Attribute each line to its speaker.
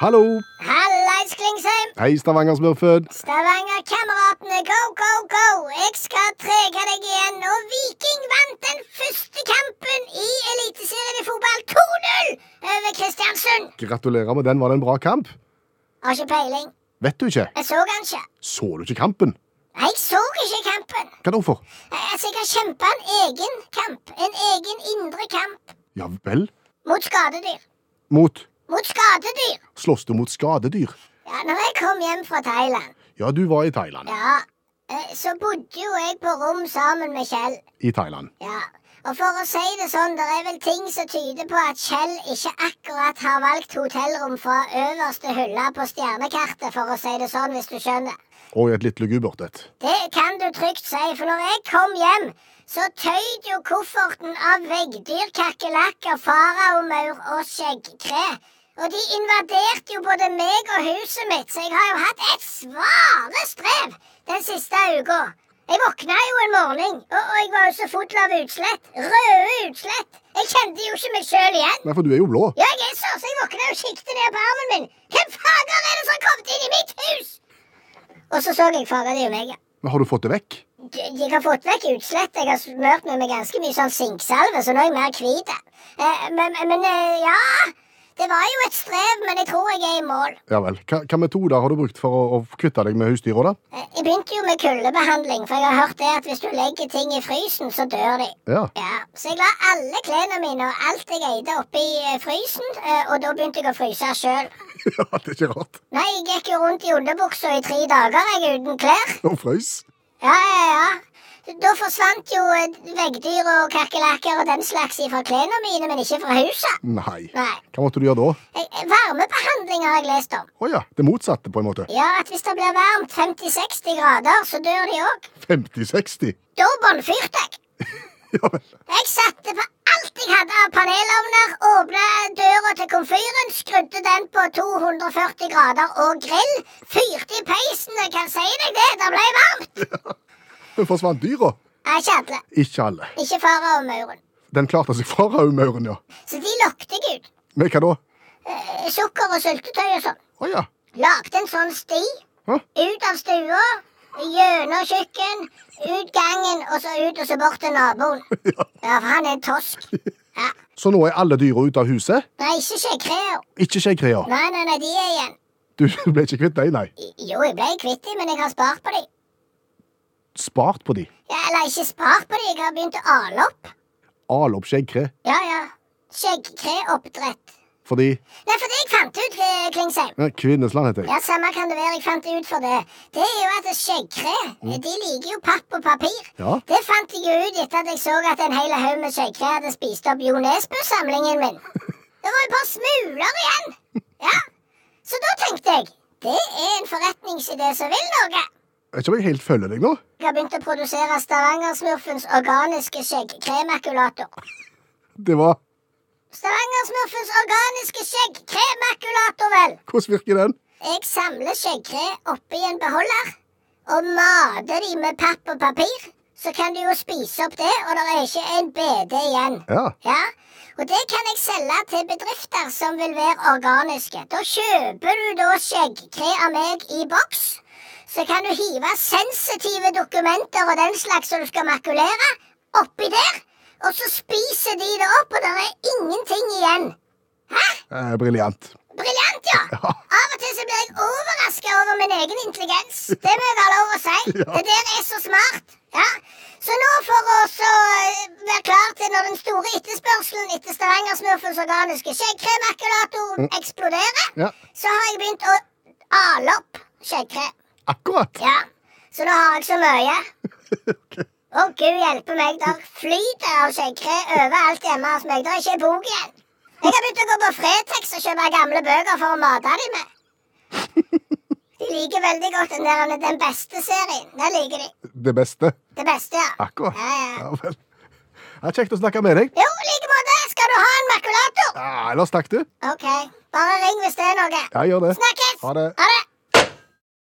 Speaker 1: Hallo!
Speaker 2: Hallais, Klingsheim!
Speaker 1: Hei, Stavanger-smurfen.
Speaker 2: Stavanger-kameratene, go, go, go! Jeg skal trege deg igjen. Og Viking vant den første kampen i Eliteserien i fotball 2-0 over Kristiansund.
Speaker 1: Gratulerer med den. Var det en bra kamp?
Speaker 2: Har ikke peiling.
Speaker 1: Vet du ikke?
Speaker 2: Jeg så han ikke.
Speaker 1: Så du ikke kampen?
Speaker 2: Nei, jeg så ikke kampen.
Speaker 1: Hva da for?
Speaker 2: Eh, Altså, jeg har kjempa en egen kamp. En egen indre kamp
Speaker 1: Ja vel?
Speaker 2: mot skadedyr.
Speaker 1: Mot
Speaker 2: Mot skadedyr.
Speaker 1: Slåss du mot skadedyr?
Speaker 2: Ja, når jeg kom hjem fra Thailand,
Speaker 1: Ja, du var i Thailand.
Speaker 2: ja, eh, så bodde jo jeg på rom sammen med Kjell.
Speaker 1: I Thailand.
Speaker 2: Ja, og for å si det sånn, det er vel ting som tyder på at Kjell ikke akkurat har valgt hotellrom fra øverste hylle på stjernekartet, for å si det sånn, hvis du skjønner.
Speaker 1: Og i et litt lugubert et.
Speaker 2: Det kan du trygt si, for når jeg kom hjem, så tøyd jo kofferten av veggdyr, kakerlakker, faraomaur og skjeggkre. Og de invaderte jo både meg og huset mitt, så jeg har jo hatt et svare strev den siste uka. Jeg våkna jo en morgen, og, og jeg var jo så full av utslett. Røde utslett. Jeg kjente jo ikke meg sjøl igjen.
Speaker 1: Nei, for du er jo blå.
Speaker 2: Ja, jeg er så, så jeg våkna og kikket ned på armen min. Hvem fager er det som har kommet inn i mitt hus? Og så så jeg fager det jo meg, ja.
Speaker 1: Men har du fått det vekk?
Speaker 2: Jeg har fått vekk utslett. Jeg har smørt meg med ganske mye sånn sinksalve, så nå er jeg mer hvit. Eh, Men, men eh, ja Det var jo et strev, men jeg tror jeg er i mål.
Speaker 1: Ja vel. Hva, hva metoder har du brukt for å, å kvitte deg med husdyra, da?
Speaker 2: Eh, Jeg begynte jo med kuldebehandling, for jeg har hørt det at hvis du legger ting i frysen, så dør de.
Speaker 1: Ja.
Speaker 2: Ja, Så jeg la alle klærne mine og alt jeg eide, oppi eh, frysen, eh, og da begynte jeg å fryse sjøl.
Speaker 1: ja, det er ikke rart.
Speaker 2: Nei, jeg gikk jo rundt i underbuksa i tre dager, jeg, uten klær.
Speaker 1: Og frøys.
Speaker 2: Ja, ja, ja. Da forsvant jo eh, veggdyr og kakerlakker og den slags fra klærne mine, men ikke fra huset.
Speaker 1: Nei.
Speaker 2: Nei.
Speaker 1: Hva måtte du gjøre da?
Speaker 2: Eh, eh, Varmebehandling har jeg lest om.
Speaker 1: Å ja, det motsatte, på en måte.
Speaker 2: Ja, at hvis det blir varmt 50-60 grader, så dør de òg.
Speaker 1: 50-60.
Speaker 2: Da båndfyrte jeg.
Speaker 1: Ja vel.
Speaker 2: Jeg satte på alt jeg hadde av panelovner, åpna døra til komfyren, skrudde den på 240 grader og grill, fyrte i peisen, jeg kan si deg det, det ble varmt.
Speaker 1: Men forsvant dyra?
Speaker 2: Nei, Ikke alle.
Speaker 1: Ikke alle.
Speaker 2: Ikke faraomauren.
Speaker 1: Den klarte seg fra raumauren, ja.
Speaker 2: Så de lokket jeg ut.
Speaker 1: Med hva da?
Speaker 2: eh, sukker og syltetøy og sånn.
Speaker 1: Å ja.
Speaker 2: Lagde en sånn sti
Speaker 1: Hæ?
Speaker 2: ut av stua, gjennom kjøkken, ut gangen og så ut og så bort til naboen.
Speaker 1: Ja.
Speaker 2: Ja, for han er en tosk. Ja.
Speaker 1: Så nå er alle dyra ute av huset?
Speaker 2: Nei, ikke skjeggkreer.
Speaker 1: Ikke skjeggkrea.
Speaker 2: Nei, nei, nei, de er igjen.
Speaker 1: Du ble ikke kvitt dem, nei.
Speaker 2: I- Jo, jeg ble kvitt dem, men jeg har spart på dem.
Speaker 1: Spart på de.
Speaker 2: Ja, eller ikke spart på dem, jeg har begynt å ale opp.
Speaker 1: Al opp skjeggkre.
Speaker 2: Ja, ja. Skjeggkreoppdrett.
Speaker 1: Fordi
Speaker 2: Nei, for det jeg fant ut, eh, Klingsheim
Speaker 1: eh, Kvinnesland heter jeg.
Speaker 2: Ja, samme kan det være. Jeg fant det ut for det. Det er jo at skjeggkre de liker jo papp og papir.
Speaker 1: Ja.
Speaker 2: Det fant jeg jo ut etter at jeg så at en hel haug med skjeggkre hadde spist opp Jo Nesbø-samlingen min. Det var jo bare smuler igjen. Ja. Så da tenkte jeg det er en forretningsidé som vil noe.
Speaker 1: Vet ikke om jeg helt følger deg nå.
Speaker 2: Jeg har begynt å produsere Stavangersmurfens organiske skjeggkremakulator.
Speaker 1: Det var
Speaker 2: Stavangersmurfens organiske skjeggkremakulator, vel.
Speaker 1: Hvordan virker den?
Speaker 2: Jeg samler skjeggkre oppi en beholder og mater de med papp og papir. Så kan du jo spise opp det, og det er ikke en BD igjen.
Speaker 1: Ja.
Speaker 2: Ja, Og det kan jeg selge til bedrifter som vil være organiske. Da kjøper du da skjeggkre av meg i boks. Så kan du hive sensitive dokumenter og den slags som du skal makulere, oppi der. Og så spiser de det opp, og det er ingenting igjen. Hæ?
Speaker 1: Eh, Briljant.
Speaker 2: Briljant, ja.
Speaker 1: Ja.
Speaker 2: Av og til så blir jeg overraska over min egen intelligens. Det må jeg ha lov å si.
Speaker 1: Ja.
Speaker 2: Det der er så smart. Ja. Så nå for å så eh, være klar til når den store etterspørselen etter Stavangersmurfens organiske skjeggkremakulator eksploderer,
Speaker 1: Mm. Ja.
Speaker 2: så har jeg begynt å ale opp skjeggkre.
Speaker 1: Akkurat.
Speaker 2: Ja. Så nå har jeg så mye. Å, gud hjelpe meg, der flyter av skjeggkre overalt hjemme hos meg. Det er ikke ei bok igjen. Jeg har begynt å gå på Fretex og kjøpe gamle bøker for å mate dem med. De liker veldig godt den der Den beste serien. Den liker de.
Speaker 1: Det beste.
Speaker 2: Det beste, ja.
Speaker 1: Akkurat.
Speaker 2: Ja, ja.
Speaker 1: Ja, vel. Ja, kjekt å snakke med deg.
Speaker 2: Jo, i like måte. Skal du ha en makulator?
Speaker 1: Ja, ellers takk, du.
Speaker 2: OK. Bare ring hvis det er noe.
Speaker 1: Ja, gjør det.
Speaker 2: Snakkes!
Speaker 1: Ha det.
Speaker 2: Ha det.